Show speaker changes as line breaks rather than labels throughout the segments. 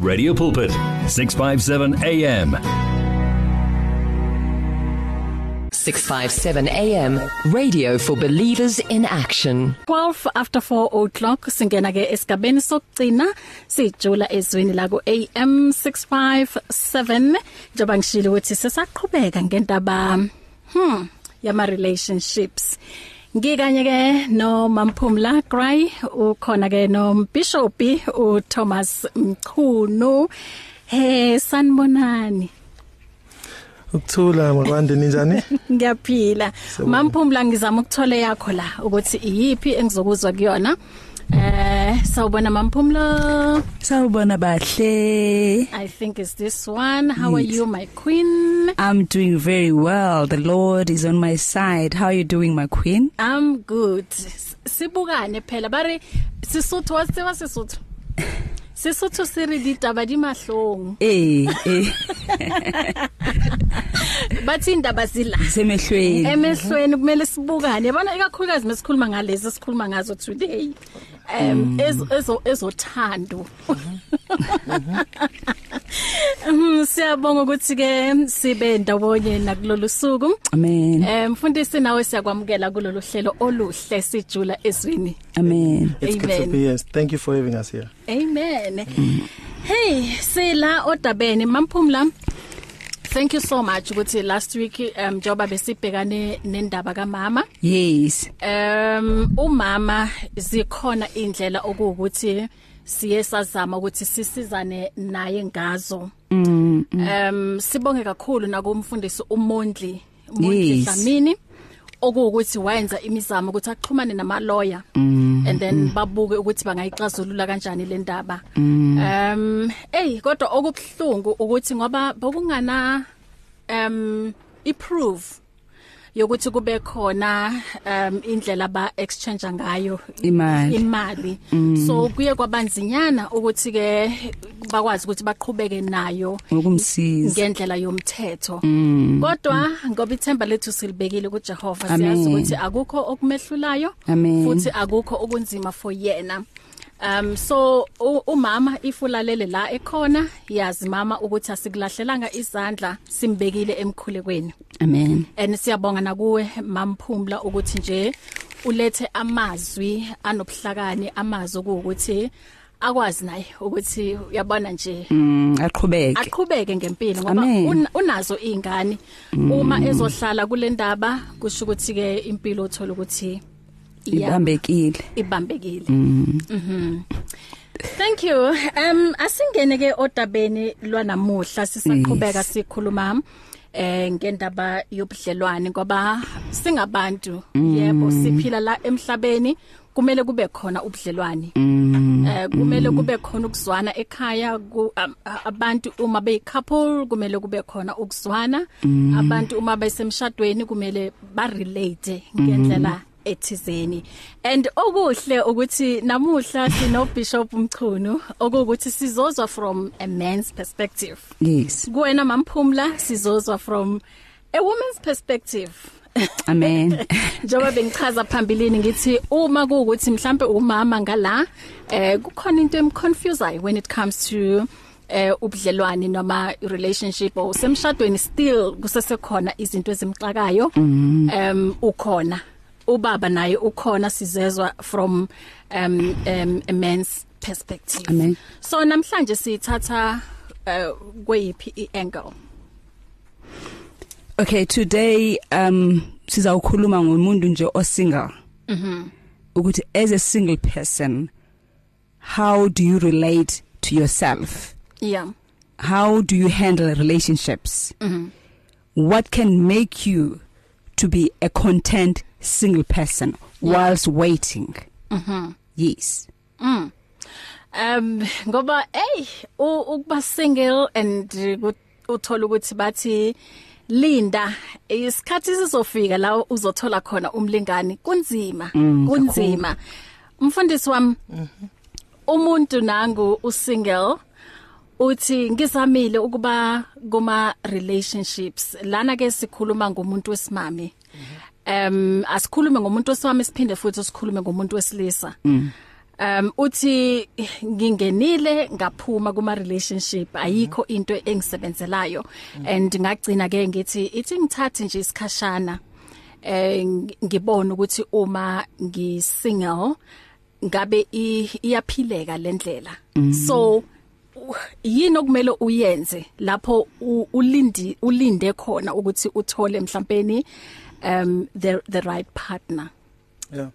Radio Pulpit, 657 AM.
657 AM radio for believers in action
12 after 4 o'clock singena ke esigabeni sokugcina sijula ezweni la ku AM 657 njoba ngishilo ukuthi sesaqhubeka ngentaba hmm yama relationships ngikanye ke no Mamphumla Gray ukhona ke no Bishop u Thomas Mchunu eh sanibonani
Ukuthula makwande ninjani?
Ngiyaphila. Mamphumla ngizama ukuthola yakho la ukuthi iyiphi engizokuzwa kuyona. Eh sawubona Mamphumla.
Sawubona bahle.
I think it's this one. How are you my queen?
I'm doing very well. The Lord is on my side. How are you doing, my queen?
I'm good. S- Sibukane phela bare sisuthu wasiwa sisuthu. Sisuthu siri ditaba di mahlong.
Eh, eh,
Bathi indaba zila.
semehlweni.
emehlweni kumele sibukane yabona ikakhulukazi mesikhuluma ngalezi sikhuluma ngazo today um ez- ezo- ezothando Mhm, siyabonga ukuthi ke sibe ndawonye nakulolu suku
Mm-hmm. Amen.
um mfundisi nawe siyakwamukela kulolu hlelo oluhle sijula ezwini
Amen.
It's good to
Amen.
be here. Thank you for having us here.
amen hey sila odabeni mamphumla thank you so much ukuthi last week um joba besibhekane nendaba kamama
Yes.
Um umama zikhona indlela okuwukuthi siye sazama ukuthi sisizane naye ngazo. Um sibonge kakhulu na kumfundisi uMondli uMondli
Yes.
Dlamini okuwukuthi wayenza imizamo ukuthi axhumane nama lawyer and then babuke ukuthi bangayixazulula kanjani le ndaba. Um hey kodwa okubhlungu ukuthi ngoba bokungana um iproof yokuthi kube khona um indlela ba exchange ngayo
Imali.
imali so kuye kwabanzinyana ukuthi ke bakwazi ukuthi baqhubeke nayo
Ngokumsiza.
ngendlela yomthetho
Mm.
kodwa ngoba ithemba lethu silibekile kuJehova
Amen.
siyazi ukuthi akukho okumehlulayo
Amen.
futhi akukho okunzima for yena um so u- umama ifulalele la ekhona yazi mama ukuthi asikulahlelanga izandla simbekile emkhulekweni
Amen.
and siyabonga nakuwe mamphumla ukuthi nje ulethe amazwi anobuhlakani amazwi ukuthi akwazi naye ukuthi uyabona nje
Mm, Aqhubeke.
aqhubeke ngempilo ngoba
Amen.
un- unazo ingane uma ezohlala kule ndaba kusho ukuthi ke impilo uthola ukuthi iya-
Ibambekile.
ibambekile Mhm. Thank you. Um asingene ke odabeni lwanamuhla sisaqhubeka sikhuluma eh ngendaba yobudlelwane ngoba singabantu yebo siphila la emhlabeni kumele kube khona ubudlelwane. Eh kumele kube khona ukuzwana ekhaya ku- am- a- abantu uma beyicouple kumele kube khona ukuzwana. Abantu uma besemshadweni kumele ba relate ngendlela ethizeni and okuhle ukuthi namuhla sino bishop Mchunu okuthi sizozwa from a man's perspective
Yes.
kuwena mamphumla sizozwa from a woman's perspective
Amen.
njengoba bengichaza phambilini ngithi uma kuukuthi mhlambe umama ngala eh kukhona into emconfuseayo when it comes to eh ubudlelwane noma relationship or semshadweni still kusese khona izinto ezimxakayo em ukhona ubaba naye ukhona sizezwa from um, um a man's perspective
Amen.
so namhlanje sithatha eh kweyiphi iangle
Okay, today um sizawukhuluma ngomuntu nje osingle. Mhm. Ukuthi as a single person, how do you relate to yourself?
yeah
how do you handle relationships mm-hmm. what can make you to be a content single person yeah. whilst waiting mm-hmm. yes
um ngoba hey u- ukuba single and uh, ut- uthola ukuthi bathi linda isikhathi sizofika la uzothola khona umlingani kunzima kunzima umfundisi wami umuntu nangu usingle uthi ngizamile ukuba kuma relationships lana ke sikhuluma ngomuntu wesimame um asikhulume ngomuntu wesimame siphinde futhi sikhulume ngomuntu wesilisa um uthi ngingenile ngaphuma kuma relationship ayikho into engisebenzelayo and ngagcina ke ngithi ithi ngithathe nje isikhashana eh ng- ngibone ukuthi uma ngisingle ngabe i- iyaphileka lendlela so u- yini okumele uyenze lapho u- ulindi ulinde khona ukuthi uthole mhlawumbe um the the right partner
Yeah.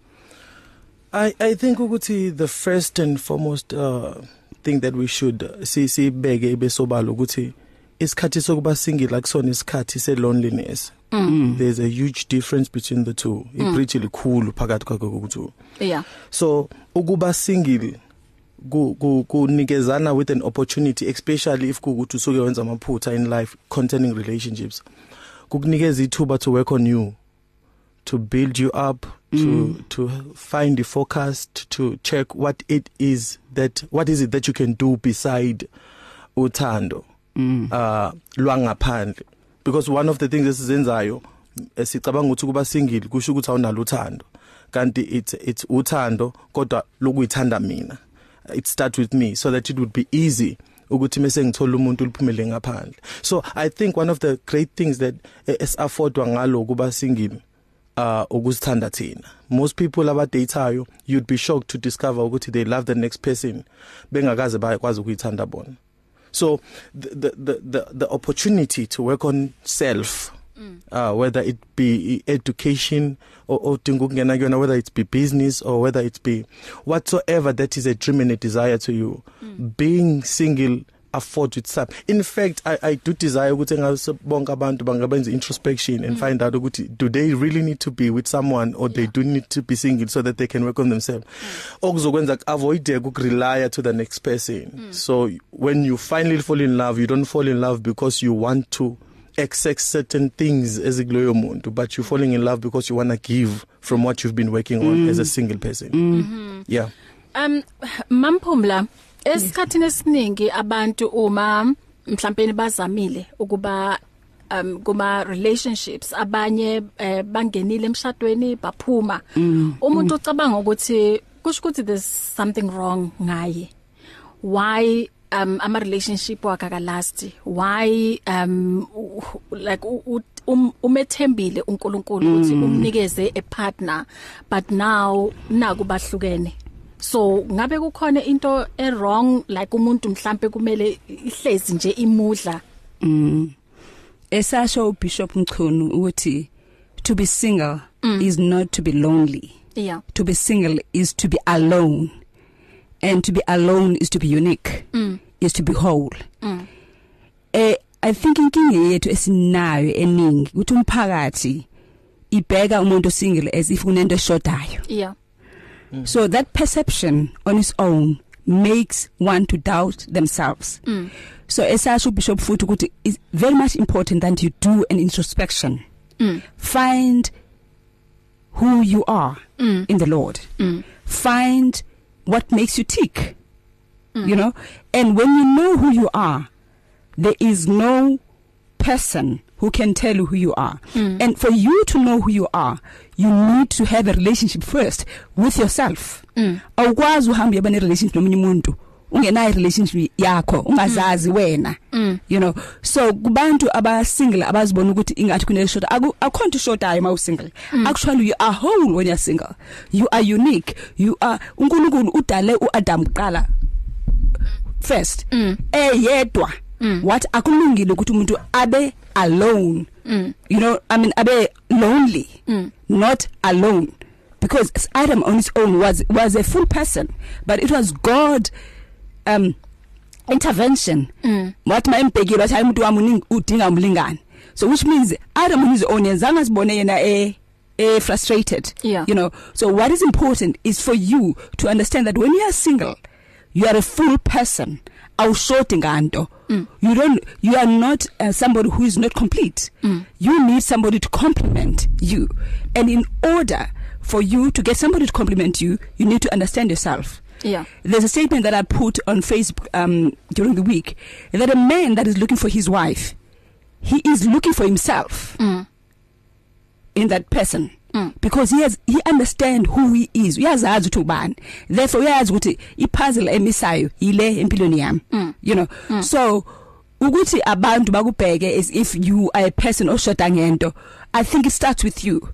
I I think ukuthi the first and foremost uh thing that we should uh, si sibheke besobala ukuthi isikhathi sokuba single akusona isikhathi se loneliness. Mm. There's a huge difference between the two. Ipreach likhulu phakathi kwakho ukuthi
yeah
so ukuba single ku- ku- kunikezana with an opportunity especially if kukuthi usuke wenza amaphutha in life concerning relationships kukunikeza ithuba to work on you to build you up to to find the focus to check what it is that what is it that you can do beside uthando uh lwangaphandle because one of the things esizenzayo eh, sicabanga ukuthi kuba single kusho ukuthi awunalo uthando kanti it's it's uthando kodwa lokuyithanda mina it start with me so that it would be easy ukuthi mase ngithola umuntu uliphumele ngaphandle so i think one of the great things that eh, esaffordwa ngalo kuba single uh ukuzithanda thina most people abadateayo you'd be shocked to discover ukuthi they love the next person bengakaze bayakwazi ukuyithanda bona so the the the the, the opportunity to work on self mm. uh whether it be education or odinga ukungena kuyona whether it be business or whether it be whatsoever that is a dream and a desire to you mm. being single afford with sub in fact i i do desire ukuthi ngase bonke abantu bangabenza introspection and mm. find out ukuthi do they really need to be with someone or yeah. Mm. they do need to be single so that they can work on themselves okuzokwenza avoid ukurely to the next person mm. so when you finally fall in love you don't fall in love because you want to accept certain things as ikuloyo muntu but you're falling in love because you want to give from what you've been working on mm. as a single person mm -hmm. yeah
um mamphumla esikhathini esiningi abantu uma mhlawumbe bazamile ukuba um kuma relationships abanye eh, bangenile emshadweni baphuma umuntu ucabanga ukuthi kusho ukuthi there's something wrong ngaye why um ama relationship wakakalast why um u- u- like u- u- um- umethembile uNkulunkulu ukuthi umnikeze a partner but now naku bahlukene so ngabe kukhona into e wrong like umuntu mhlambe kumele ihlezi nje imudla
esasho ubishop Mchunu ukuthi to be single mm. is not to be lonely
yeah
to be single is to be alone and to be alone is to be unique mm. is to be whole mm. eh i think inkinga yethu esinayo eningi ukuthi umphakathi ibheka umuntu single as if kunento eshodayo
yeah
So that perception on its own makes one to doubt themselves. Mm. So esasho bishop futhi ukuthi it's very much important that you do an introspection. Mm. Find who you are mm. in the Lord. Mm. Find what makes you tick. Mm. You know, and when you know who you are, there is no person who can tell you who you are. Mm. And for you to know who you are, you need to have a relationship first with yourself. Awukwazi uhamba yaba ne relationship nomunye umuntu ungenayo relationship yakho ungazazi wena. You know, so kubantu aba single abazibona ukuthi ingathi kune short aku akhonto shotayo mawu single. Actually you are whole when you're single. You are unique. You are uNkulunkulu udale uAdam kuqala first eyedwa what akulungile ukuthi umuntu abe alone you know i mean abe lonely not alone because Adam on his own was was a full person but it was god um intervention wathi mayimbhekile wathi hayi umuntu wami uning- udinga umlingani so which means Adam on his own yenzanga sibone yena eh eh frustrated
Yeah.
you know so what is important is for you to understand that when you are single you are a full person awushoti nganto you don't you are not uh, somebody who is not complete mm. you need somebody to complement you and in order for you to get somebody to complement you you need to understand yourself
yeah
there's a statement that I put on Facebook um, during the week that a man that is looking for his wife, he is looking for himself mm. in that person mm. because he has he understand who he is uyazazi ukuthi ubani therefore uyazi ukuthi ipuzzle emisayo yile empilweni yami you know so ukuthi abantu bakubheke as if you are a person oshoda ngento i think it starts with you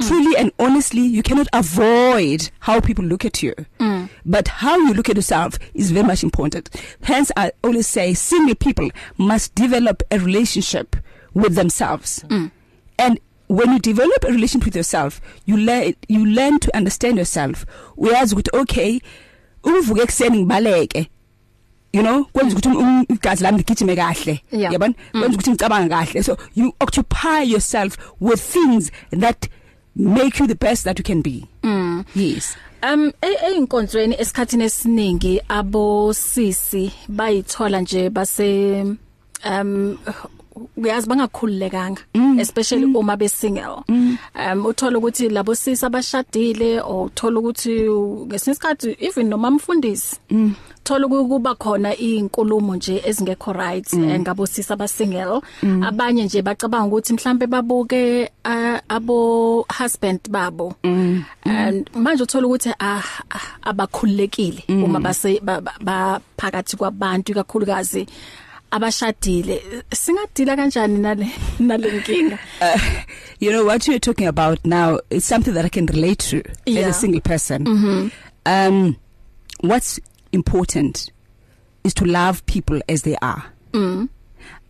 truly and honestly you cannot avoid how people look at you mm. but how you look at yourself is very much important hence i always say single people must develop a relationship with themselves mm. and when you develop a relationship with yourself you learn you learn to understand yourself uyazi ukuthi okay uvuke ekseni ngibaleke you know kwenza ukuthi um- igazi lami ligijime kahle
Yeah.
yabona kwenza ukuthi ngicabanga kahle so you occupy yourself with things that make you the best that you can be mm. yes
Um einkonzweni esikhathini esiningi abo sisi bayithola nje base um uyazi bangakhululekanga especially uma besingle um uthola ukuthi labo sisi abashadile or uthola ukuthi u- ngesinye isikhathi even noma mfundisi thola ukuba khona izinkulumo nje ezingekho right eh, ngabo sisi abasingle abanye nje bacabanga ukuthi mhlambe babuke ah, abo husband babo and manje uthola ukuthi ah, ah, abakhululekile uma base ba- ba- baphakathi kwabantu kakhulukazi abashadile singadila kanjani nale nalenkinga
you know what you're talking about now is something that I can relate to yeah. as
Yeah.
a single person. Mm-hmm. Um, what's important is to love people as they are. Mm.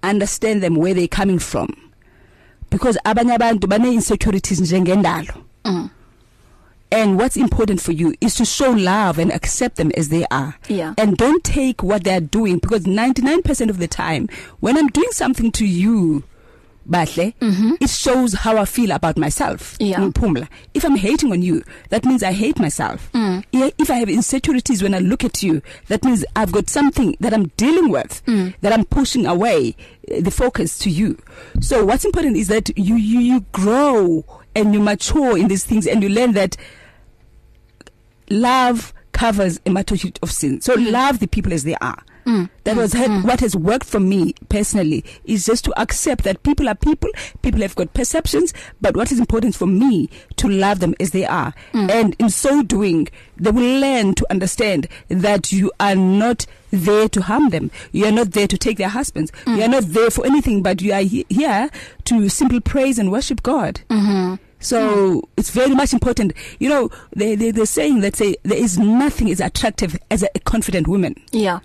Understand them where they're coming from. Because abanye abantu bane insecurities njengendalo.
Mm.
And what's important for you is to show love and accept them as they are.
Yeah.
And don't take what they're doing because 99% of the time when I'm doing something to you bahle mm-hmm. it shows how I feel about myself
Yeah.
ngiphumla if I'm hating on you that means I hate myself mm. if I have insecurities when I look at you that means I've got something that I'm dealing with mm. that I'm pushing away uh, the focus to you so what's important is that you you you grow and you mature in these things and you learn that love covers a multitude of sins. So mm. love the people as they are. Mm. That was mm. what has worked for me personally is just to accept that people are people, people have got perceptions, but what is important for me to love them as they are. Mm. And in so doing, they will learn to understand that you are not there to harm them. You are not there to take their husbands. Mm. You are not there for anything, but you are he- here to simply praise and worship God. Mm-hmm. So mm. it's very much important. You know, they, they, they're saying that say, there is nothing as attractive as a confident woman.
yeah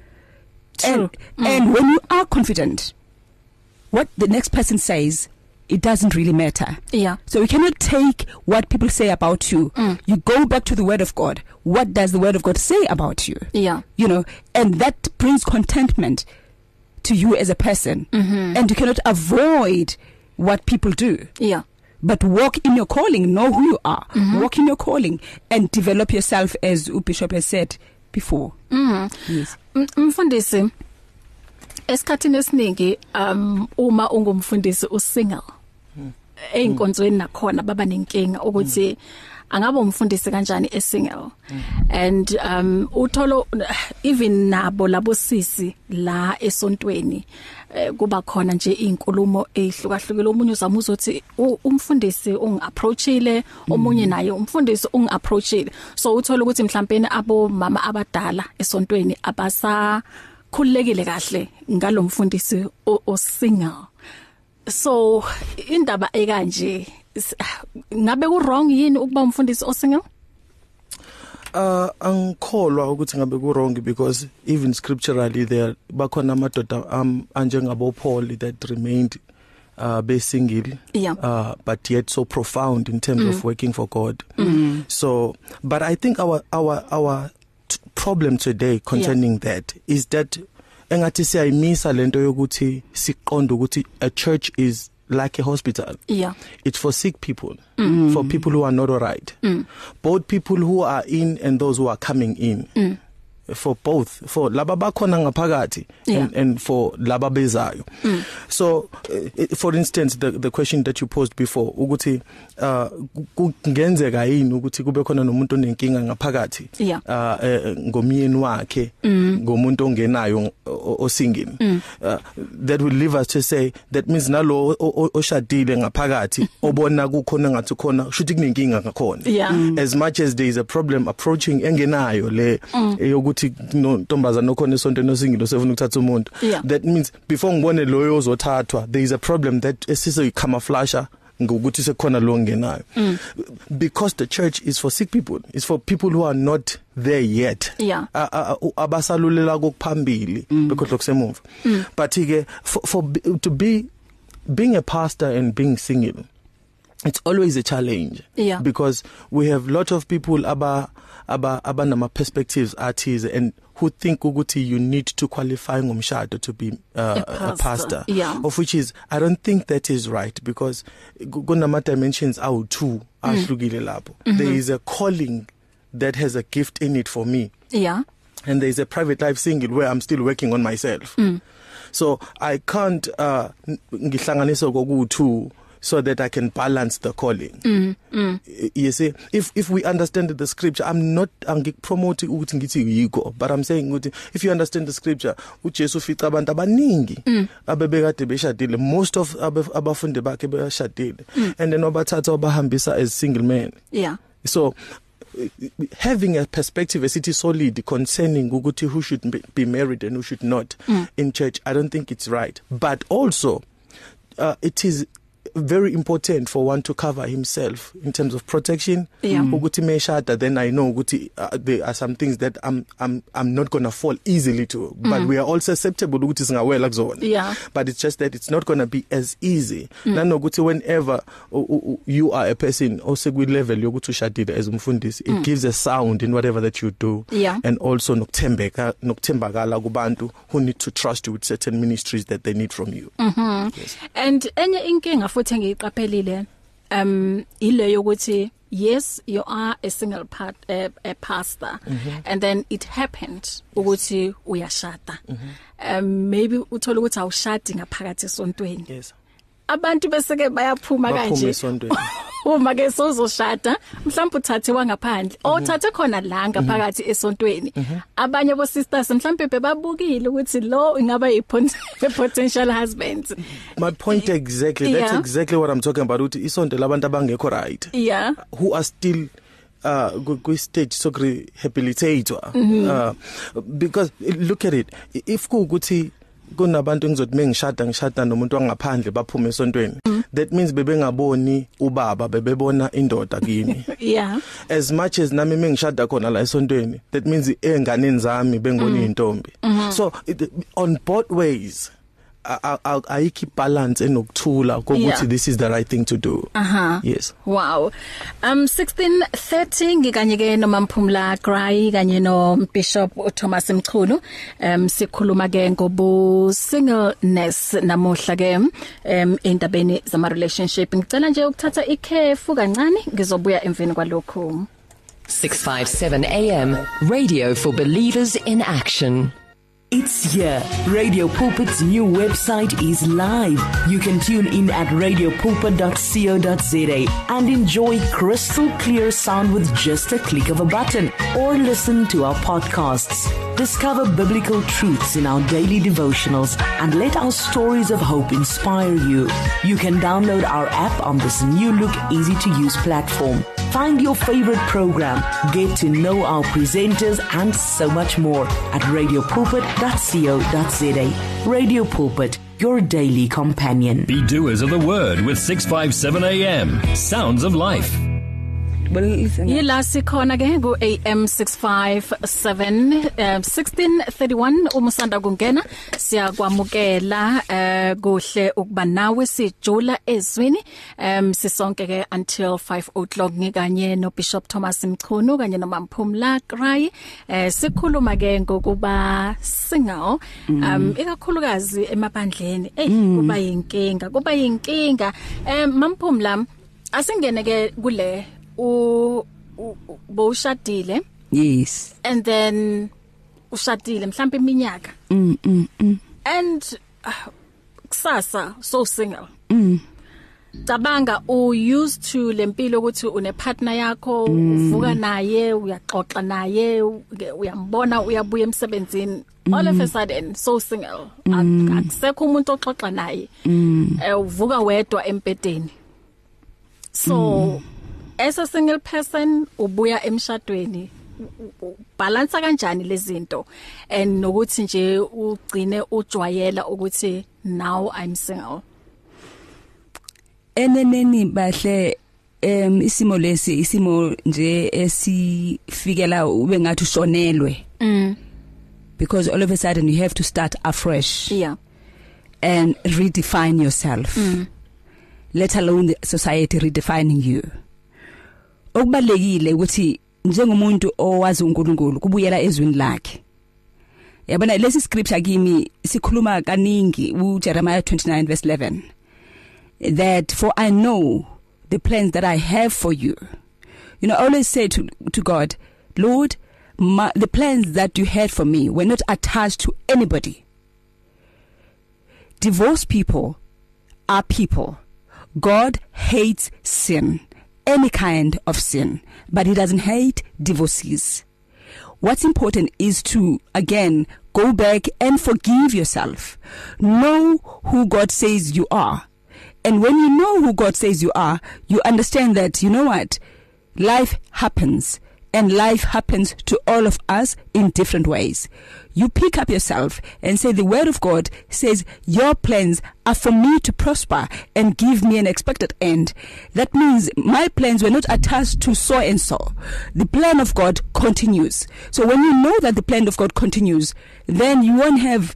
True. And, mm. and when you are confident, what the next person says, it doesn't really matter.
yeah
So you cannot take what people say about you. Mm. You go back to the Word of God. What does the Word of God say about you?
yeah
you know and that brings contentment to you as a person mm-hmm. and you cannot avoid what people do
yeah
but walk in your calling know who you are mm-hmm. walk in your calling and develop yourself as U bishop has said before mm. yes
M- mfundisi esikhathini esiningi um uma ungumfundisi usingle einkonzweni nakhona baba nenkinga ukuthi angabe umfundisi kanjani esingle and um utholo even nabo labo sisi la esontweni eh, kuba khona nje izinkulumo ezihlukahlukile omunye uzama uzothi "U- umfundisi ungiapproachile omunye naye umfundisi ungiapproachile so uthola ukuthi mhlawumbe abo mama abadala esontweni abasa khulekile kahle ngalomfundisi o- osingle so indaba ekanje is- ngabe ku wrong yini ukuba umfundisi osingle
uh angikholwa ukuthi ngabe ku wrong because even scripturally there bakhona amadoda um anjengabo Paul that remained uh besingle
Yeah.
uh but yet so profound in terms mm. of working for God mm. so but i think our our our t- problem today concerning yeah. that is that engathi siyayimisa lento yokuthi siqonde ukuthi a church is like a hospital
yeah
it's for sick people mm. for people who are not all right mm. both people who are in and those who are coming in mm. for both for laba bakhona ngaphakathi
Yeah.
and, and for laba bezayo mm. so uh, for instance the the question that you posed before ukuthi uh, ku- kungenzeka yini ukuthi kube khona nomuntu onenkinga ngaphakathi
Yeah. Mm.
uh, eh, ngomyeni wakhe ngomuntu ongenayo o- o- osingini Uh, that will leave us to say that means nalo o- o- oshadile ngaphakathi obona kukhona ngathi khona shuthi kunenkinga ngakhona
Mm-hmm. Yeah. Mm.
as much as there is a problem approaching engenayo le
Mm.
eyokuthi no- ntombazana okhona esontweni osingilo sefuna ukuthatha umuntu
Yeah.
that means before ngibone loyo ozothathwa there is a problem that esizoyicamouflasha ngokuthi sekukhona lo ongenayo
Mm.
because the church is for sick people it's for people who are not there yet
Yeah. Mm.
A- a- a- abasalulela kokuphambili bekhohlwa kusemuva but ke for, for b- to be being a pastor and being single it's always a challenge
Yeah.
because we have lot of people aba aba abanama perspectives artists and who think ukuthi you need to qualify ngomshado to be uh,
A
a,
pastor.
pastor
Yeah.
of which is i don't think that is right because kunama dimensions awu two
Mm.
ahlukile lapho
Mm-hmm.
there is a calling that has a gift in it for me
Yeah.
and there is a private life single where I'm still working on myself. Mm. So I can't uh ngihlanganisa kokuthu so that I can balance the calling. Mm. Mm. You see if if we understand the scripture I'm not angikupromote ukuthi ngithi yiko but I'm saying ukuthi if you understand the scripture uJesu ufica abantu abaningi abebekade beshadile most of abe- abafundi bakhe beshadile and then obathatha obahambisa as single men.
Yeah.
so uh, having a perspective as it is solid concerning ukuthi who should be- be married and who should not mm. in church i don't think it's right but also uh, it is very important for one to cover himself in terms of protection
Yeah. Mm.
ukuthi meshada then i know ukuthi uh, there are some things that i'm i'm i'm not going to fall easily to but mm. we are all susceptible ukuthi singawela kuzona
Yeah.
but it's just that it's not going to be as easy nanokuthi whenever u- u- u- you are a person osekwi level yokuthi ushadile as umfundisi it gives a sound in whatever that you do
Yeah.
and also nokuthembeka nokuthembakala kubantu who need to trust you with certain ministries that they need from you
and enye inkinga futhi engiyiqaphelile um ile yokuthi yes you are a single part a, a pastor mm -hmm. and then it happened ukuthi uyashada mm -hmm. um maybe uthola ukuthi awushadi ngaphakathi esontweni
yes
abantu bese ke bayaphuma
Baphuma
kanje
esontweni.
uma ke sozoshada mhlawumbe uthathe wangaphandle othathe khona la ngaphakathi esontweni abanye bo sisters mhlawumbe bebabukile ukuthi lo ingaba yi potential husband
my point exactly yeah. that's
Yeah.
exactly what i'm talking about uthi isonto labantu abangekho right
yeah
who are still uh ku ku stage so rehabilitator mm -hmm. uh, because eh, look at it I- if kuukuthi kunabantu engizothi mengishada ngishada nomuntu wangaphandle baphume esontweni that means bebengaboni ubaba bebebona indoda kini
yeah
as much as nami mengishada khona la esontweni that means enganeni zami bengibona izintombi so it, on both ways I- I- I- ayikhi balance enokuthula
Yeah.
kokuthi this is the right thing to do
aha
yes
Wow. Um 1630 ngikanye ke nomamphumla Gray kanye no Bishop Thomas Mchunu um sikhuluma ke ngobu singleness namuhla ke um endabeni zama relationship ngicela nje ukuthatha ikhefu kancane ngizobuya emveni kwalokho.
657 AM, radio for believers in action.
It's here. Radio Pulpit's new website is live. You can tune in at radiopulpit.co.za and enjoy crystal clear sound with just a click of a button or listen to our podcasts. Discover biblical truths in our daily devotionals and let our stories of hope inspire you. You can download our app on this new look easy to use platform. Find your favorite program, get to know our presenters, and so much more at radiopulpit.co.za. Radio Pulpit, your daily companion.
Be doers of the word with 657 AM. Sounds of life.
Well, listen.
Yila sikhona ke ku AM 657 um 1631 uma usanda kungena siyakwamukela eh, kuhle ukuba nawe sijula ezwini um sisonke ke until 5 o'clock ngikanye no Bishop Thomas Mchunu kanye no Mamphumla Gray eh sikhuluma ke ngokuba single um ikakhulukazi emaphandleni eh kuba yinkinga kuba yinkinga eh Mamphumla asingene ke kule u u- u- bowushadile
Yes.
and then ushadile mhlawumbe iminyaka
mm, mm, mm.
and uh, kusasa so single
Mm.
cabanga u used to lempilo ukuthi une partner yakho
Mm.
uvuka naye uyaxoxa naye uke- uyambona uyabuya emsebenzini all
Mm.
of a sudden so single Ak- akusekho umuntu oxoxa naye
Mm.
eh, uvuka wedwa empedeni
Mm.
so as a single person ubuya emshadweni u- u- balance kanjani lezi zinto and nokuthi nje ugcine ujwayela ukuthi now i'm single
eneneni bahle em isimo lesi isimo nje esifikela ube ngathi ushonelwe
mm
because all of a sudden you have to start afresh
yeah
and redefine yourself mm. let alone the society redefining you okubalekile ukuthi njengomuntu owazi uNkulunkulu kubuyela ezwini lakhe yabona lesi scripture kimi sikhuluma kaningi uJeremiah 29 verse 11 that for I know the plans that I have for you you know I always say to to God Lord my, the plans that you had for me were not attached to anybody divorced people are people. God hates sin, any kind of sin, but he doesn't hate divorcees. What's important is to again go back and forgive yourself. Know who God says you are. And when you know who God says you are, you understand that you know what? Life happens and life happens to all of us in different ways. You pick up yourself and say the word of God says your plans are for me to prosper and give me an expected end. That means my plans were not attached to so and so. The plan of God continues. So when you know that the plan of God continues, then you won't have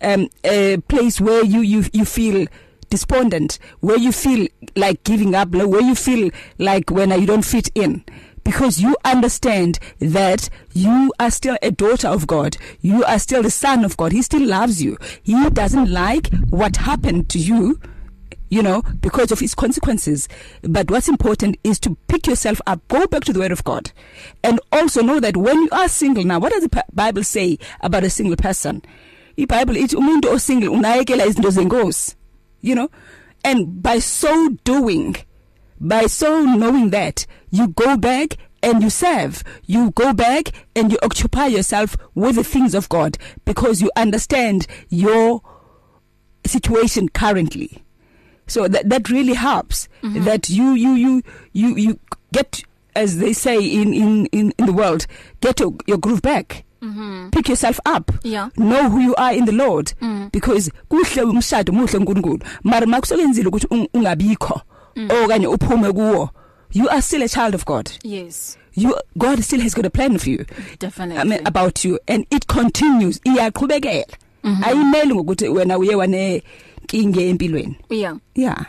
um a place where you you you feel despondent where you feel like giving up like where you feel like when you don't fit in because you understand that you are still a daughter of God you are still the son of God he still loves you he doesn't like what happened to you you know because of its consequences but what's important is to pick yourself up go back to the word of god and also know that when you are single now what does the Bi- bible say about a single person iBible ithi umuntu osingle unayekela izinto zenkosi you know and by so doing by so knowing that you go back and you serve you go back and you occupy yourself with the things of god because you understand your situation currently so that that really helps mm-hmm. that you you you you you get as they say in in in, in the world get your, your groove back mm-hmm. pick yourself up
Yeah.
know who you are in the lord mm. because kuhle umshado muhle uNkulunkulu mara makusebenzile ukuthi ung- ungabikho okanye uphume kuwo you are still a child of god
yes
you god still has got a plan for you
definitely
I mean about you and it continues iyaqhubekela ayimeli ngokuthi wena uye wane inkinge empilweni
yeah
yeah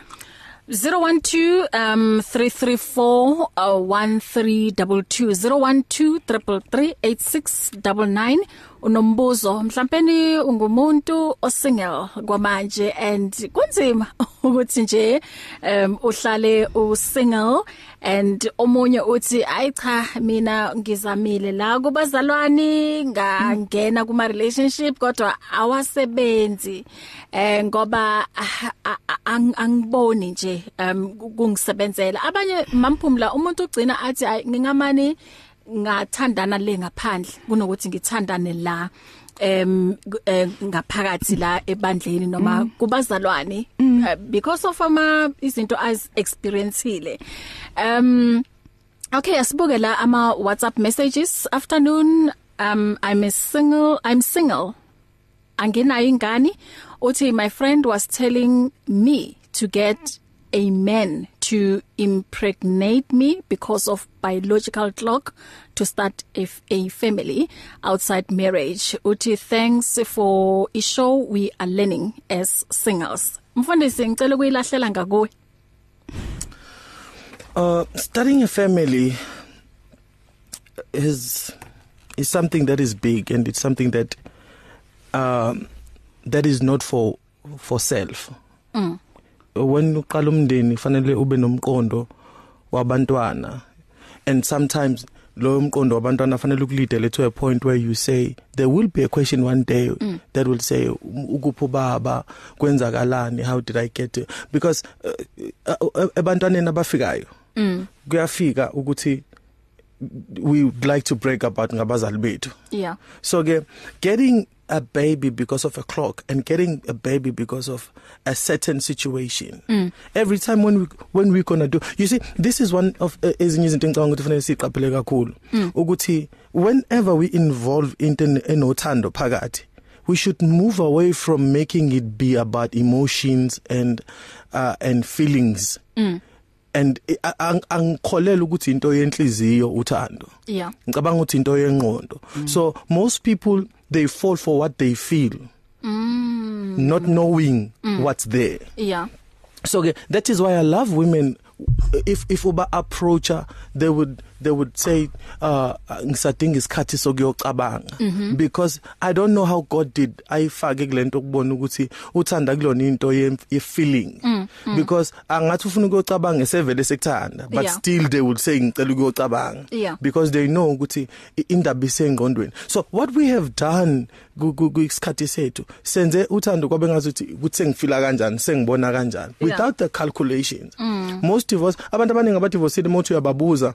012 um 334 uh, 1322 012 333 8699 unombuzo mhlawumbe ungumuntu osingle kwamanje and kunzima ukuthi nje um uhlale usingle and omunye uthi ayi cha mina ngizamile la kubazalwani ngangena kuma relationship kodwa awasebenzi eh ngoba ah, ah, ah, ang- angiboni nje um kungisebenzela abanye mamphumla umuntu ugcina athi "Ayi, ngingamani ngathandana le ngaphandle kunokuthi ngithandane la em gu- eh, ngaphakathi la ebandleni noma kubazalwane Uh, because of ama izinto as experienceile um Okay, asibuke la ama WhatsApp messages. Afternoon, um I'm a single, I'm single. Anginayo ingane. Uthi my friend was telling me to get a man to impregnate me because of biological clock to start a, f- a family outside marriage. Uthi thanks for i show we are learning as singles. Mfundisi ngicela ukuyilahlela ngakuwe.
Uh, starting a family is is something that is big, and it's something that um, that is not for for self. Mm. When uqala umndeni, fanele ube nomqondo wabantwana, and sometimes lo mqondo wabantwana afanele ukulidele to a point where you say there will be a question one day mm. that will say ukuphi baba kwenzakalani how did i get to because eh, ebantwaneni abafikayo kuyafika ukuthi we would like to break apart ngabazali bethu
yeah
so ke getting a baby because of a clock and getting a baby because of a certain situation mm. every time when we when we going to do you see this is one of uh, ezinye izinto engicabanga ukuthi fanele siqaphele kakhulu ukuthi whenever we involve into en- enothando phakathi we should move away from making it be about emotions and uh, and feelings mm. and i- ang- angikholelwa ukuthi into yenhliziyo uthando
yeah
ngicabanga ukuthi into yenqondo so most people they fall for what they feel mm. not knowing mm. what's there
yeah
so ke- that is why i love women if if uba approacher they would they would say uh ngisadinga isikhathi sokuyocabanga because i don't know how god did ayifake kulento ukubona ukuthi uthanda kulona into ye- ye feeling because angathi ufuna ukuyocabanga sevele sekuthanda but
Yeah.
still they would say ngicela ukuyocabanga
Yeah.
because they know ukuthi i- indaba isengqondweni so what we have done ku- ku- kwisikhathi sethu senze uthando kwabe ngazuthi ukuthi sengifila kanjani sengibona kanjani without the calculations mm. most divorce abantu abaningi abadivorced motho uyababuza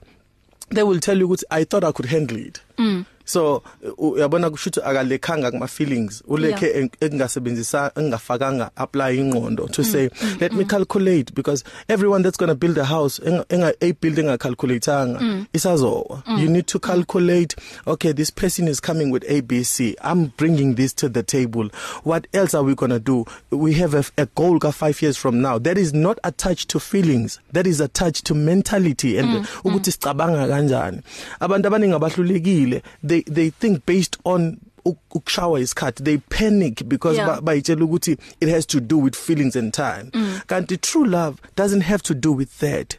they will tell you ukuthi i thought i could handle it mm. so u- uyabona kushuthi akalekhanga kuma feelings ulekhe
Yeah.
en- engingasebenzisa engingafakanga apply ingqondo to say let me calculate because everyone that's going to build a house enga enga- a building ngakhalkulatanga isazowa you need to calculate okay this person is coming with abc i'm bringing this to the table what else are we going to do we have a, a goal ka 5 years from now that is not attached to feelings that is attached to mentality and ukuthi sicabanga kanjani abantu abaningi abahlulekile they they think based on uk- ukushawa isikhathi they panic because
Yeah.
ba- bayitshela ukuthi it has to do with feelings and time kanti true love doesn't have to do with that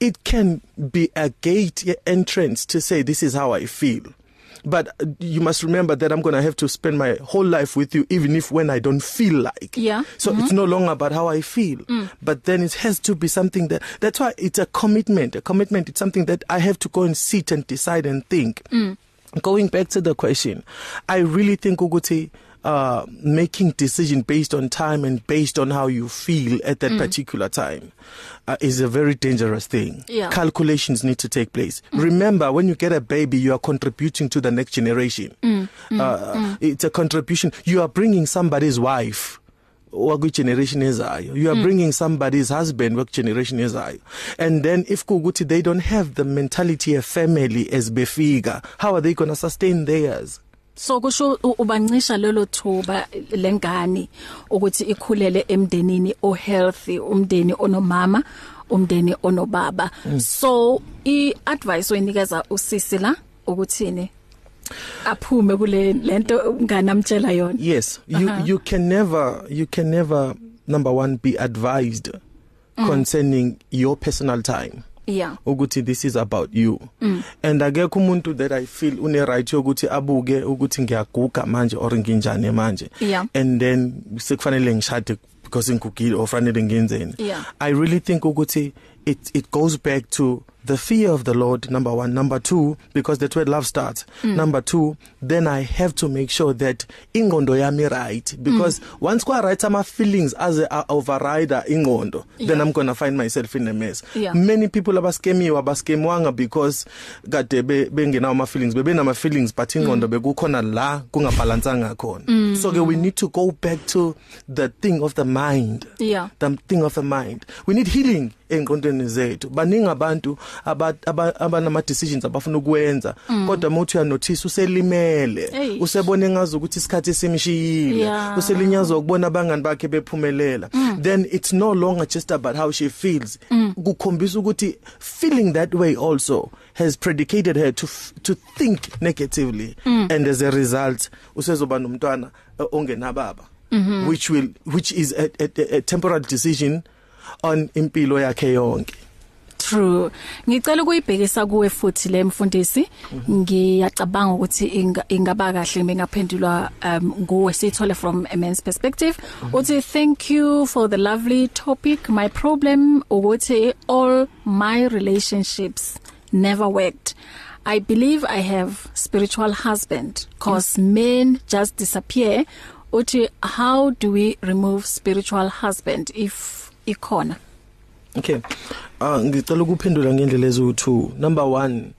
it can be a gate ye- entrance to say this is how i feel but uh, you must remember that i'm going to have to spend my whole life with you even if when i don't feel like
Yeah.
so mm-hmm. Mm. it's no longer about how i feel but then it has to be something that that's why it's a commitment a commitment it's something that i have to go and sit and decide and think mm. going back to the question i really think ukuthi uh making decision based on time and based on how you feel at that mm. particular time uh, is a very dangerous thing
Yeah.
calculations need to take place mm. remember when you get a baby you are contributing to the next generation mm. uh mm. it's a contribution you are bringing somebody's wife wakugeneration ezayo you are mm. bringing somebody's husband wakugeneration ezayo and then if kuukuthi they don't have the mentality of family as befika how are they going to sustain theirs
so kusho u- ubancisha lelo thuba lengane ukuthi ikhulele emndenini o healthy umndeni onomama umndeni onobaba so i advice oyinikeza usisi la ukuthini aphume kule lento ngane amtshela yona
yes you uh-huh. you can never you can never number 1 be advised mm. concerning your personal time
yeah
ukuthi this is about you mm. and akekho umuntu that i feel une right yokuthi abuke ukuthi ngiyaguga manje or nginjani manje
Yeah.
and then sekufanele ngishade because ngigugile or fanele ngenzeni
Yeah.
i really think ukuthi it it goes back to the fear of the lord number 1 number 2 because that's where love starts mm. number 2 then i have to make sure that ingondo yami right because mm. once kwa right ama feelings as a overrider ingondo yeah. then i'm going to find myself in a mess
Yeah.
many people abaskemiwa baskemwanga because kade be- bengenawo ama feelings bebenama feelings but ingondo mm. bekukhona la kungabalansanga khona mm. so ke we need to go back to the thing of the mind
Yeah.
the thing of the mind we need healing engqondweni zethu baningi abantu aba- aba- abanama decisions abafuna ukwenza kodwa mawuthi uyanotice uselimele
Eish.
usebone ngazi ukuthi isikhathi simshiyile
Yeah.
uselinyazwa ukubona abangani bakhe bephumelela then it's no longer just about how she feels kukhombisa ukuthi feeling that way also has predicated her to f- to think negatively and as a result usezoba nomntwana uh, ongenababa which will which is a, a, a temporary decision on impilo yakhe yonke
true ngicela ukuyibhekisa kuwe futhi le mfundisi ngiyacabanga ukuthi inga- ingaba kahle bengaphendulwa um nguwe sithole from a man's perspective uthi thank you for the lovely topic my problem ukuthi all my relationships never worked I believe I have spiritual husband because mm. men just disappear. Uthi how do we remove spiritual husband if ikhona?
Okay. Uh ngicela ukuphendula ngendlela eziwu2. Number 1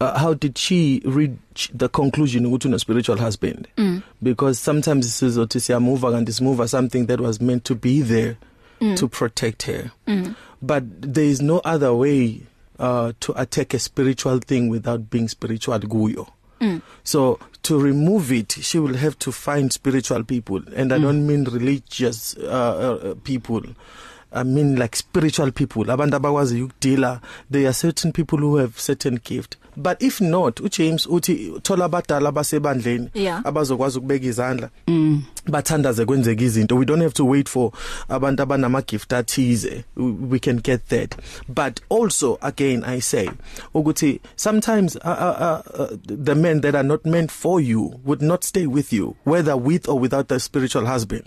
Uh, how did she reach the conclusion ukuthi una spiritual husband mm. because sometimes sizothi siyamuva kanti simuva something that was meant to be there mm. to protect her mm. but there is no other way uh to attack a spiritual thing without being spiritual kuyo mm. so to remove it she will have to find spiritual people and i mm. don't mean religious uh, uh people I mean like spiritual people abantu abakwazi ukudeala there are certain people who have certain gift but if not uJames uthi thola abadala basebandleni
Yeah.
abazokwazi ukubeka izandla bathandaze kwenzeka izinto we don't have to wait for abantu abanama gift athize We- we can get that but also again i say ukuthi sometimes uh, uh, uh, uh, the men that are not meant for you would not stay with you whether with or without a spiritual husband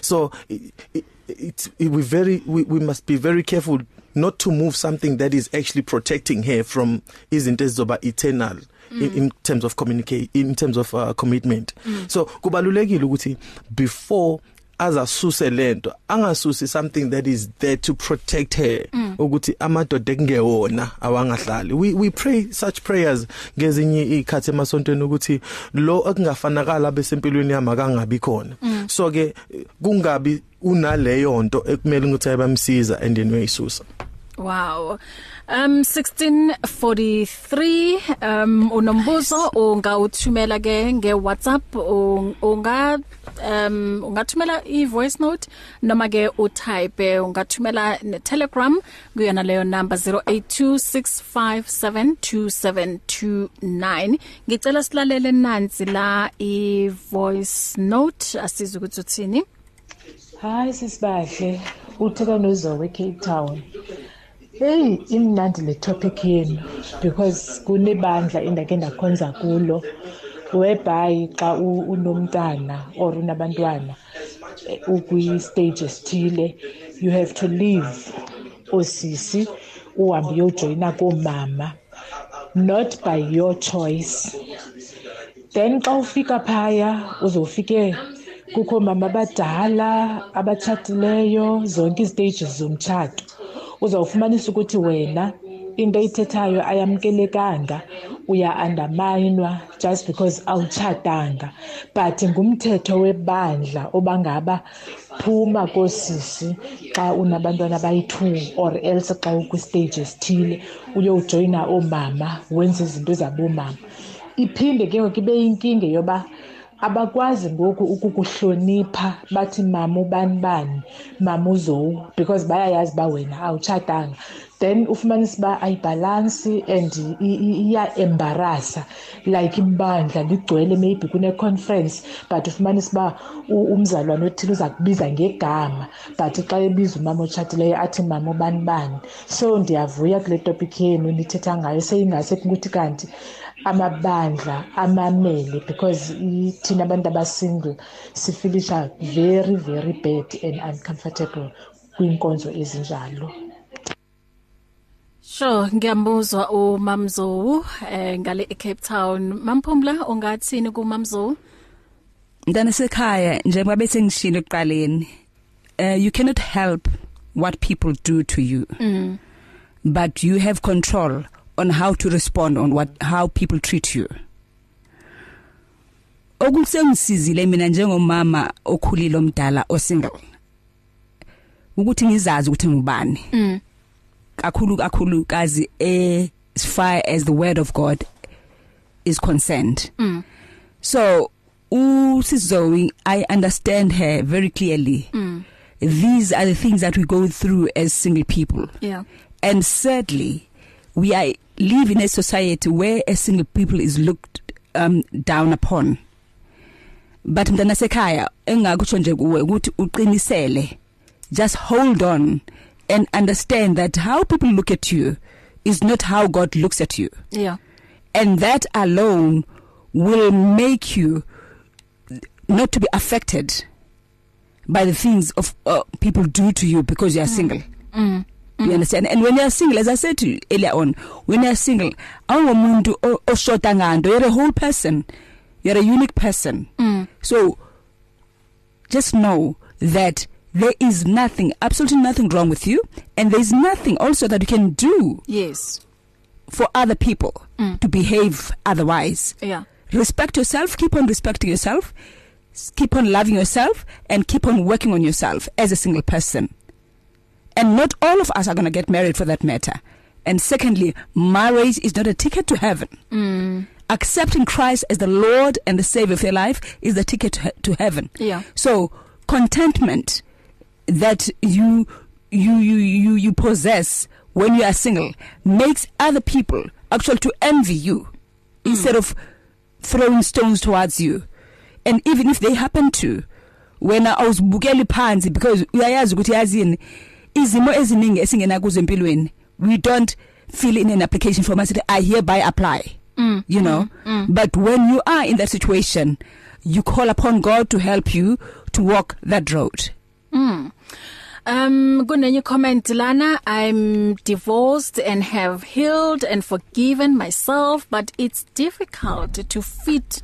so it, it, it, it we very we, we must be very careful not to move something that is actually protecting her from izinto ezizoba eternal mm. in, in terms of communicate in terms of uh, commitment mm. so kubalulekile ukuthi before azasuse lento angasusi something that is there to protect her ukuthi amadoda kungewona awangahlali we we pray such prayers ngezinye ikhathi emasontweni ukuthi lo ekungafanakala abesempilweni yami akangabi khona so ke kungabi unaleyo nto ekumele ukuthi ayabamsiza and then uyayisusa
Wow. Um 1643 um unombuzo ungawuthumela ke nge WhatsApp un- unga um ungathumela i voice note noma ke u type ungathumela ne Telegram kuyona leyo number 0826572729 ngicela silalele nansi la i voice note asizwe ukuthi uthini
hayi sisibahle utheka nozowe cape town heyi imnandi le topic yenu because kunebandla endake ndakhonza kulo webhayi xa u- unomntana or unabantwana eh, ukwistage esithile you have to leave oosisi uhambe uyojoyina koomama not by your choice then xa ufika phaya uzofike kukho mama abadala abatshatileyo zonke iziteji zomtshato uzawufumanisa ukuthi wena into ayithethayo ayamkelekanga uya-andamayinwa just because awutshatanga but ngumthetho webandla obangaba phuma koosisi xa unabantwana abayi-two or else xa ukwistage esithile uyowujoyina oomama wenze izinto zaboomama iphinde ke ngoku ibe yinkinga yoba abakwazi ngoku ukukuhlonipha bathi mama ubani bani mama uzowu because bayayazi uba wena awutshatanga then ufumanisa uba ayibhalansi and iyaembarasa like ibandla ligcwele maybe kune-conference but ufumanisa uba u- umzalwane othile uza kubiza ngegama but xa ebiza umama otshatileyo athi mama ubani bani so ndiyavuya kule topic yenu nithetha ngayo seyingase kukuthi kanti amabandla amamele because i- thina abantu abasingle sifilisha very very bad and uncomfortable kwiinkonzo ezinjalo
Sho ngiyambuzwa uMamzowu eh ngale eCape Town Mamphumla ungathini kuMamzowu
Mntana sekhaya njengoba bese ngishilo eqaleni uh, you cannot help what people do to you mm. but you have control on how to respond on what how people treat you Okusengisizile mina njengomama okhulile omdala osingle ukuthi ngizazi ukuthi ngubani
Mm.
kakhulu kakhulu kazi eh, as far as the word of god is concerned
Mm.
so usizowi i understand her very clearly mm. these are the things that we go through as single people
yeah
and sadly we are live in a society where a single people is looked um down upon but mntana sekhaya engakutsho nje kuwe ukuthi uqinisele just hold on and understand that how people look at you is not how god looks at you
yeah
and that alone will make you not to be affected by the things of uh, people do to you because you are mm. single you understand and when you are single as i said to you earlier on when you are single awumuntu o- oshota ngando you're a whole person you're a unique person mm. so just know that there is nothing absolutely nothing wrong with you and there's nothing also that you can do
yes
for other people mm. to behave otherwise
yeah
respect yourself keep on respecting yourself s- keep on loving yourself and keep on working on yourself as a single person and not all of us are going to get married for that matter and secondly marriage is not a ticket to heaven mm. accepting Christ as the lord and the savior of your life is the ticket to, he- to heaven
Yeah.
so contentment that you you you you you possess when you are single makes other people actually to envy you mm. instead of throwing stones towards you and even if they happen to wena awuzibukeli phansi because uyayazi ukuthi yazini izimo eziningi esingena kuzo empilweni we don't fill in an application form asithi i hereby apply mm. you know mm. but when you are in that situation you call upon God to help you to walk that road
Um kunenye comment lana I'm divorced and have healed and forgiven myself but it's difficult to fit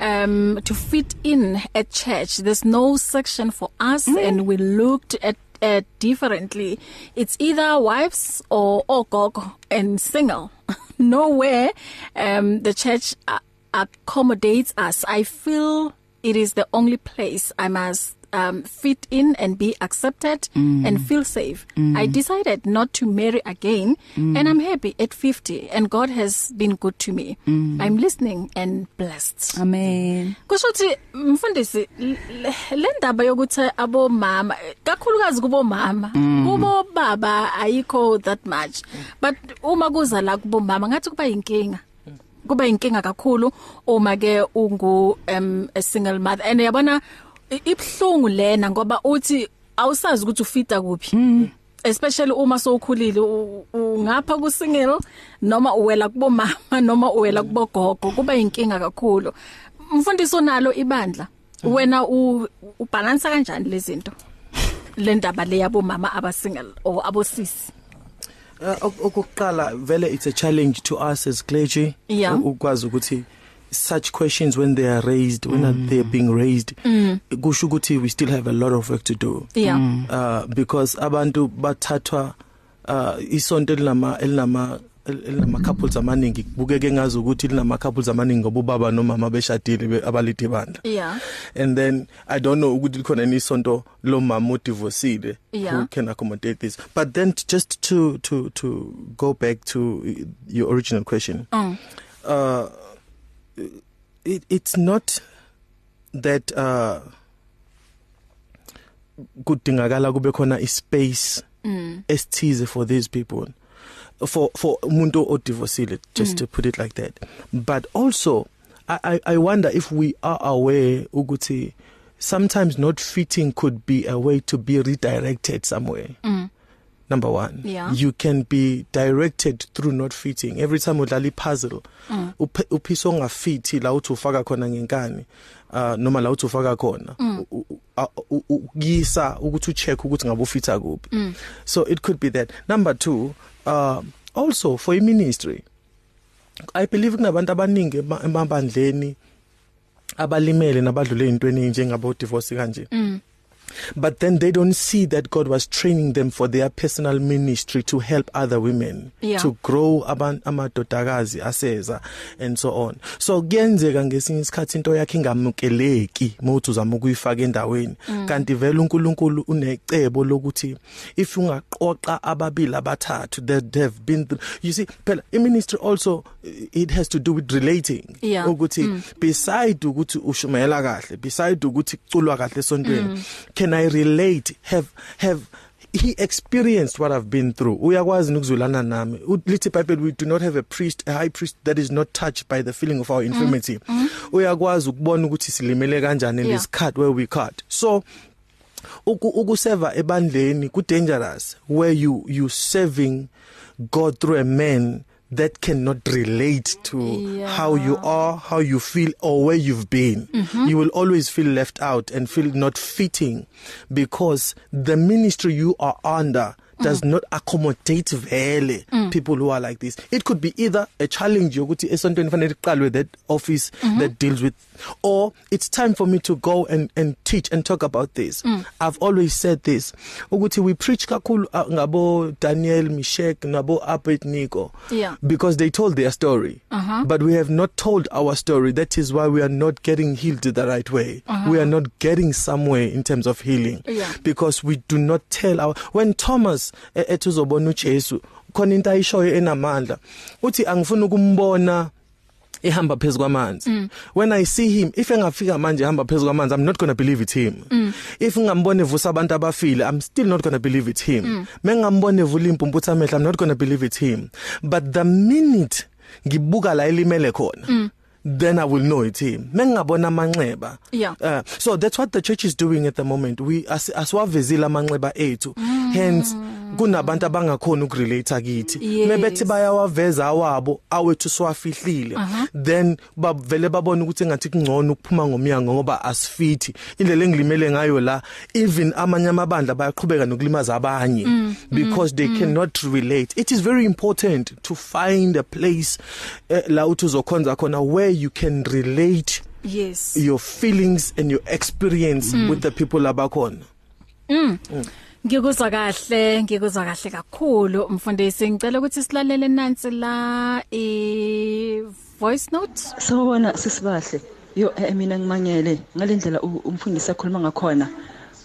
um to fit in at church there's no section for us mm. and we looked at uh, differently it's either wives or ogogo and single nowhere um the church uh, accommodates us I feel it is the only place I must um fit in and be accepted mm. and feel safe mm. i decided not to marry again mm. and i'm happy at 50 and god has been good to me mm. i'm listening and blessed
amen
kushuthi mfundisi l- l- le ndaba yokuthi abomama kakhulukazi kubomama kubo baba ayikho that much but uma kuza la kubomama ngathi kuba yinkinga kuba yinkinga kakhulu uma ke ungu um, a single mother and yabona i- ibhlungu lena ngoba uthi awusazi ukuthi ufita kuphi especially uma sowukhulile u- ungapha ku single noma uwela kubomama noma uwela kubogogo kuba yinkinga kakhulu mfundisi onalo ibandla wena u- ubalansa kanjani lezi zinto le ndaba le yabomama abasingle or abosisi
Eh, ok- okokuqala vele it's a challenge to us as clergy
Yeah.
u- ukwazi ukuthi such questions when they are raised when mm. they are being raised kusho mm. ukuthi we still have a lot of work to do
yeah
uh because abantu bathathwa uh isonto elinama elinama el- elinama couples amaningi kubukeke ngazi ukuthi linama couples amaningi ngoba ubaba nomama beshadile be- abalidi bandla
yeah
and then i don't know ukuthi likhona any sonto lo mama udivorced
Yeah.
who can accommodate this but then t- just to to to go back to uh, your original question
Mm.
uh it, it's not that uh kudingakala kube khona ispace esithize for these people for for umuntu odivorced just mm. to put it like that but also I, i i wonder if we are aware ukuthi sometimes not fitting could be a way to be redirected somewhere mm. number 1
Yeah.
you can be directed through not fitting every time udlala ipuzzle uphe- uphiso ongafithi la uthi ufaka khona ngenkani uh, noma la uthi ufaka khona u- u- a- u- u- ukuyisa ukuthi ucheck ukuthi ngabe ufitha kuphi so it could be that number 2 uh also for i ministry i believe kunabantu abaningi ema- emabandleni abalimele nabadlule intweni njengabo divorce kanje but then they don't see that God was training them for their personal ministry to help other women
Yeah.
to grow aban- amadodakazi aseza and so on so kuyenzeka ngesinye isikhathi into yakhe ingamukeleki mawuthi uzama ukuyifaka endaweni
Mm.
kanti vele uNkulunkulu unecebo lokuthi if ungaqoqa ababili abathathu that they've been through, you see phela iministry also eh, it has to do with relating
Yeah.
ukuthi beside ukuthi ushumayela kahle beside ukuthi kuculwa kahle esontweni can i relate have have he experienced what i've been through uyakwazi ukuzwelana nami U- lithi bible we do not have a priest a high priest that is not touched by the feeling of our infirmity uyakwazi ukubona ukuthi silimele kanjani in
Yeah.
this cut where we cut so uku- ukuseva ebandleni ku dangerous where you you serving God through a man that cannot relate to
Yeah.
how you are how you feel or where you've been mm-hmm. you will always feel left out and feel not fitting because the ministry you are under does not accommodate vele people who are like this it could be either a challenge yokuthi esontweni fanele iqalwe that office that deals with or it's time for me to go and and teach and talk about this i've always said this ukuthi we preach kakhulu uh, ngabo Daniel Mishek nabo Abed Nico
Yeah.
because they told their story
Uh-huh.
but we have not told our story that is why we are not getting healed the right way uh-huh. we are not getting somewhere in terms of healing
Yeah.
because we do not tell our when Thomas e- ethi uzobona uJesu khona into ayishoyo enamandla uthi angifuni ukumbona ehamba phezulu kwamanzi mm. when i see him if engafika manje ehamba phezulu kwamanzi i'm not going to believe it's him mm. if ngambone evusa abantu abafile i'm still not going to believe it's him mm. mengambone evula impumpu thamehla i'm not going to believe it's him but the minute ngibuka la elimele khona mm. then i will know it's him mengabona amanxeba
Yeah.
uh, so that's what the church is doing at the moment we as aswavezile amanxeba ethu hence kunabantu abangakhona ukurelate kithi
Yes.
mebethi bayawaveza awabo awethu siwafihlile then bavele babone ukuthi engathi kungcono ukuphuma ngomnyango ngoba asifithi indlela engilimele ngayo la even amanye amabandla bayaqhubeka nokulimaza abanye because they cannot relate it is very important to find a place eh, la uthi uzokhonza khona where you can relate
yes
your feelings and your experience mm. with the people abakhona
Ngikuzwa kahle, ngikuzwa kahle kakhulu mfundisi. Ngicela ukuthi silalele nansi la i voice note.
Sawubona sisibahle. Yo eh, mina ngimangele ngalendlela u- umfundisi akhuluma ngakhona.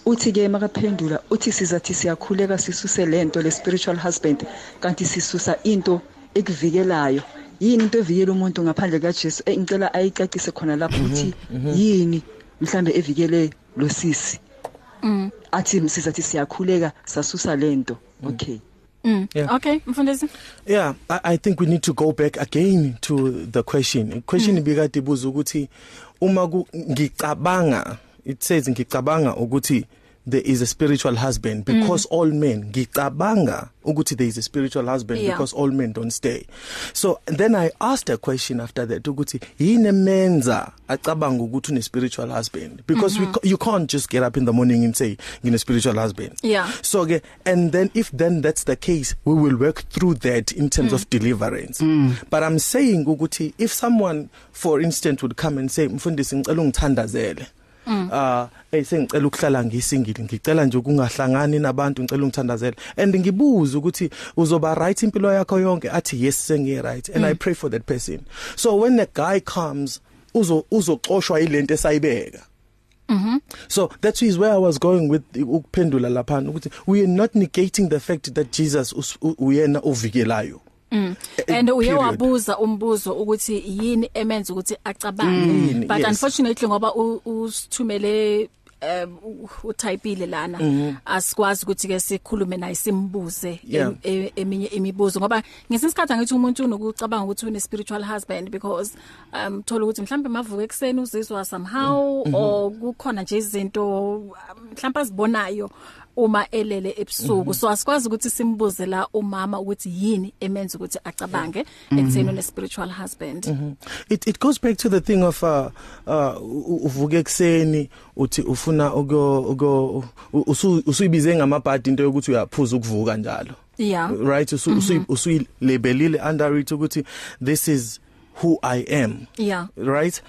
Uthi ke makaphendula uthi sizathi siyakhuleka sisuse lento le spiritual husband kanti sisusa into ekuvikelayo. Yini into evikela umuntu ngaphandle kaJesu? Eh, Ngicela ayicacise khona lapho uthi yini mhlambe evikele lo sisi.
Mm.
Athi sizathi siyakhuleka sasusa lento. Okay.
Mm.
Yeah.
Okay, mfundisi.
Yeah, I, I think we need to go back again to the question. The question mm. ibikade ibuza ukuthi uma ku- ngicabanga it says ngicabanga ukuthi there is a spiritual husband because mm. all men ngicabanga ukuthi there is a spiritual husband
Yeah.
because all men don't stay. So then I asked a question after that ukuthi yini emenza acabanga ukuthi une spiritual husband because mm -hmm. we, ca- you can't just get up in the morning and say ngine spiritual husband.
Yeah.
So okay, and then if then that's the case, we will work through that in terms mm. of deliverance. Mm. But I'm saying ukuthi if someone for instance would come and say mfundisi ngicela ungithandazele. Ah, hey sengicela ukuhlala ngisingile, ngicela nje ukungahlangani nabantu, ngicela ungithandazele. And ngibuza ukuthi uzoba right impilo yakho yonke athi yes sengi right and mm. I pray for that person. So when the guy comes uzo uzoxoshwa ilento esayibeka. So that is where I was going with ukuphendula lapha ukuthi we are not negating the fact that Jesus us- u- uyena ovikelayo. Eh,
Mm. And uye
period.
wabuza umbuzo ukuthi yini emenza ukuthi acabange.
Yini,
But
Mm, yes.
unfortunately ngoba u- usithumele um utypile lana asikwazi ukuthi ke sikhulume naye simbuze
Yeah.
em- e- eminye imibuzo ngoba ngesinye isikhathi angithi umuntu unokucabanga ukuthi une spiritual husband because um thola ukuthi mhlambe mavuka ekseni uzizwa somehow or kukhona nje izinto mhlamba sibonayo uma elele ebusuku so asikwazi ukuthi simbuze la umama ukuthi yini emenza ukuthi acabange ekutheni une spiritual husband
Mm-hmm. It it goes back to the thing of uh uh u- u- uvuka ekseni uthi ufuna ugo ugo u- usu- usuyibize ngamabhadi into yokuthi uyaphuza ukuvuka njalo.
yeah
Right
Mm-hmm.
usu usu- usuyilabelile under it ukuthi this is who I am.
yeah
right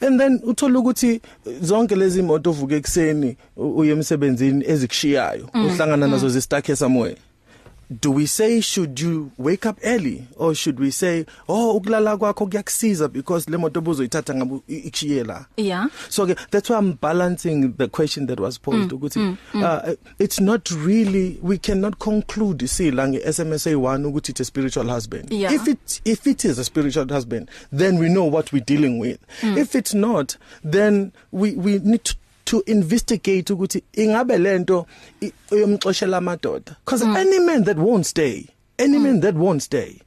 and then uthola ukuthi zonke lezi moto ovuka ekseni u- uye emsebenzini ezikushiyayo uhlangana nazo zistake somewhere do we say should you wake up early or should we say oh ukulala kwakho kuyakusiza because le moto obuzoyithatha ngabe i- ikushiye la
yeah
so okay, that's why I'm balancing the question that was posed ukuthi mm, uh, it's not really we cannot conclude see la nge SMSA 1 ukuthi it's a spiritual husband
Yeah.
if it if it is a spiritual husband then we know what we're dealing with
Hmm.
mm. if it's not then we we need to to investigate ukuthi ingabe lento i- uyomxoshela amadoda because
Hmm.
mm. any man that won't stay any mm. man that won't stay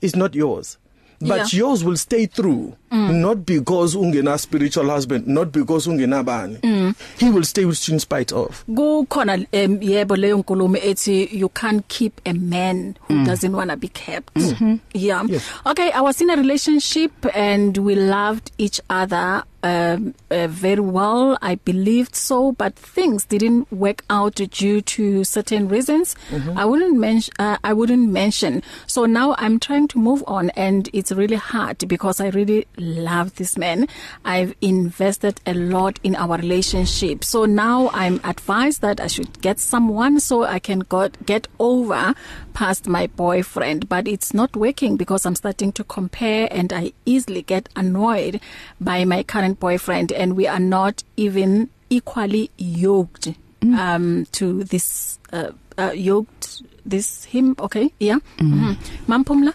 is not yours but
Yeah. Hmm.
yeah. yours will stay through mm. not because ungena spiritual husband not because ungena bani
Hmm.
mm. he will stay with you in spite of
kukhona em, yebo leyo nkulumo ethi you can't keep a man who mm. Mm-hmm. doesn't want to be kept mm -hmm. yeah yes. okay i was in a relationship and we loved each other um, uh, very well. I believed so, but things didn't work out due to certain reasons. Mm-hmm. I wouldn't mention. Uh, I wouldn't mention. So now I'm trying to move on, and it's really hard because I really love this man. I've invested a lot in our relationship. So now I'm advised that I should get someone so I can got, get over past my boyfriend. But it's not working because I'm starting to compare, and I easily get annoyed by my current boyfriend and we are not even equally yoked mm. um to this uh, uh yoked this him okay yeah mm. mm-hmm. mampumla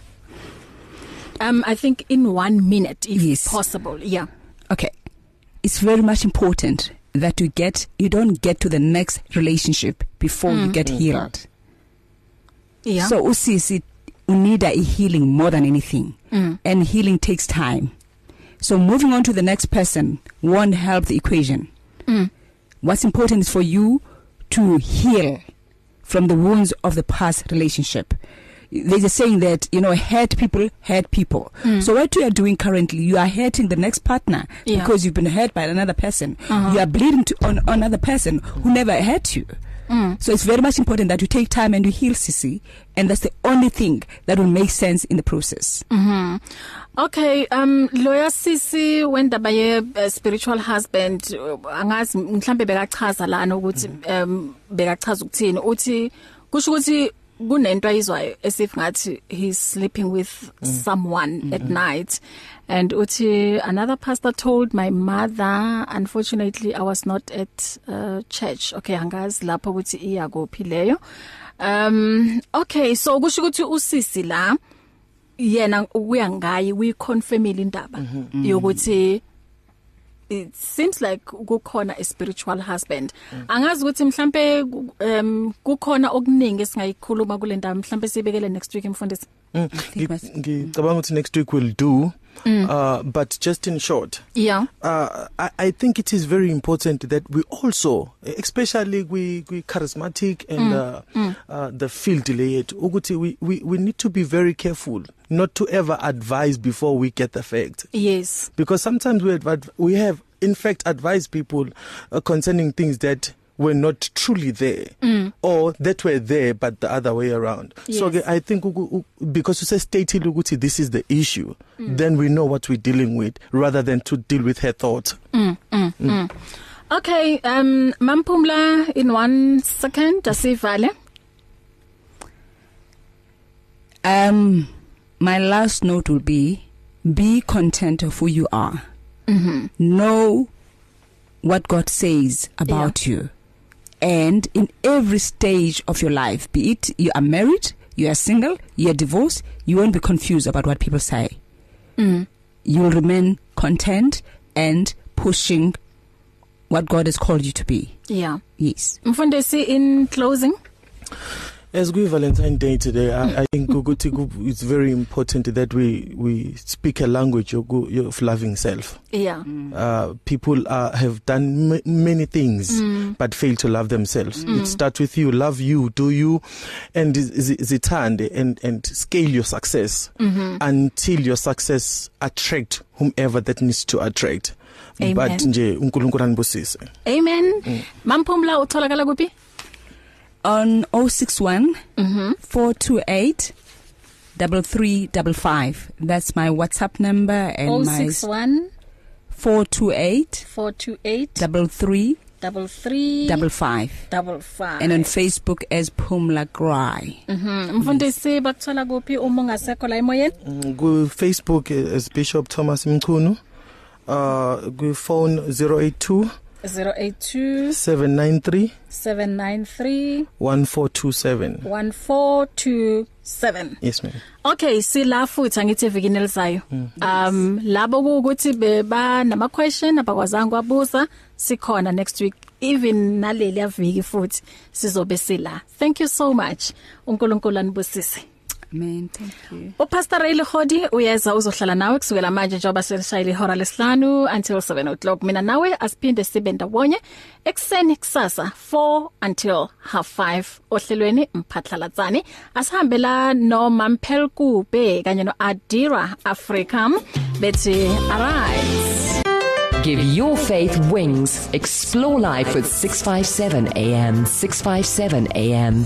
um i think in 1 minute if yes. possible yeah
okay it's very much important that you get you don't get to the next relationship before mm. you get mm. healed yeah so usisi unida a healing more than anything mm. and healing takes time So moving on to the next person won't help the equation. Mm. What's important is for you to heal from the wounds of the past relationship. There's a saying that, you know, hurt people hurt people. Mm. So what you are doing currently, you are hurting the next partner yeah. because you've been hurt by another person. Uh-huh. You are bleeding to on, on another person who never hurt you. Mm. So it's very much important that you take time and you heal Sisi and that's the only thing that will make sense in the process.
Mhm. Okay, um lawyer Sisi wendaba ye uh, spiritual husband uh, angazi mhlambe bekachaza lana ukuthi um bekachaza ukuthini uthi kusho ukuthi kunento ayizwayo esif ngathi he's sleeping with mm. someone mm. at night and uthi another pastor told my mother unfortunately I was not at uh, church okay angazi lapho ukuthi iya kuphi leyo um okay so kusho ukuthi usisi la yena ukuya ngayi uyiconfirmile indaba yokuthi it seems like kukhona a spiritual husband mm. angazi ukuthi mhlambe um kukhona okuningi esingayikhuluma kule ndaba mhlambe sibekele next week mfundisi
ngicabanga ukuthi next week will do
Hmm.
mm. uh but just in short
yeah
uh i i think it is very important that we also especially we we charismatic and mm. uh, mm. uh the field yet ukuthi we we we need to be very careful not to ever advise before we get the fact
yes
because sometimes we adv- we have in fact advised people uh, concerning things that were not truly there mm. or that were there but the other way around yes. so i think because you say state ukuthi this is the issue mm. then we know what we're dealing with rather than to deal with her thought
mm, mm, mm. mm. okay um mampumla in one second asivale
um my last note will be be content of who you are mhm know what god says about yeah. you and in every stage of your life be it you are married you are single you are divorced you won't be confused about what people say mm. you will remain content and pushing what god has called you to be
yeah
yes
mfundisi in closing
As we Valentine Day today I, I think ukuthi it's very important that we we speak a language of loving self.
Yeah. Mm.
Uh people are, have done m- many things mm. but fail to love themselves. Mm. It starts with you love you do you and zithande and and scale your success mm-hmm. until your success attract whomever that needs to attract.
Amen.
But nje uNkulunkulu anibusise.
Amen. Mm. Mamphumla utholakala kuphi?
on 061 mm-hmm. 428 3355 that's my whatsapp number and
061
428
428
33
double 3
double 5
double 5
and on facebook as Pumla Grai
mhm mfundisi bakuthola kuphi uma ungasekho la emoyeni
ku facebook eh, as bishop thomas mchunu uh ku phone 082
082
793
793
1427
1427
Yes ma'am
Okay sila futhi angithi evikini elizayo mm. um labo ukuthi beba nama question abakwazanga wabuza sikhona next week even naleli yaviki futhi sizobe sila Thank you so much uNkulunkulu anibusise
Amen. Thank you.
Upastor Rayli Khodi uyeza uzohlala nawe kusukela manje njengoba selishayile ihora lesihlanu until 7 o'clock. Mina nawe asiphinde sibe ndawonye ekseni kusasa 4 until half 5 ohlelweni mphatlalatsani. Asihambela no Mampelkube kanye no Adira Africa bethi arise.
Give your faith wings. Explore life with 657 AM. 657 AM.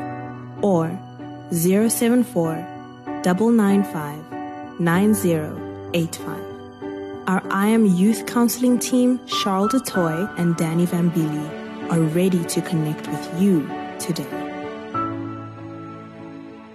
or 074 995 9085. Our I Am Youth Counseling team, Charles DeToy and Danny Vambili, are ready to connect with you today.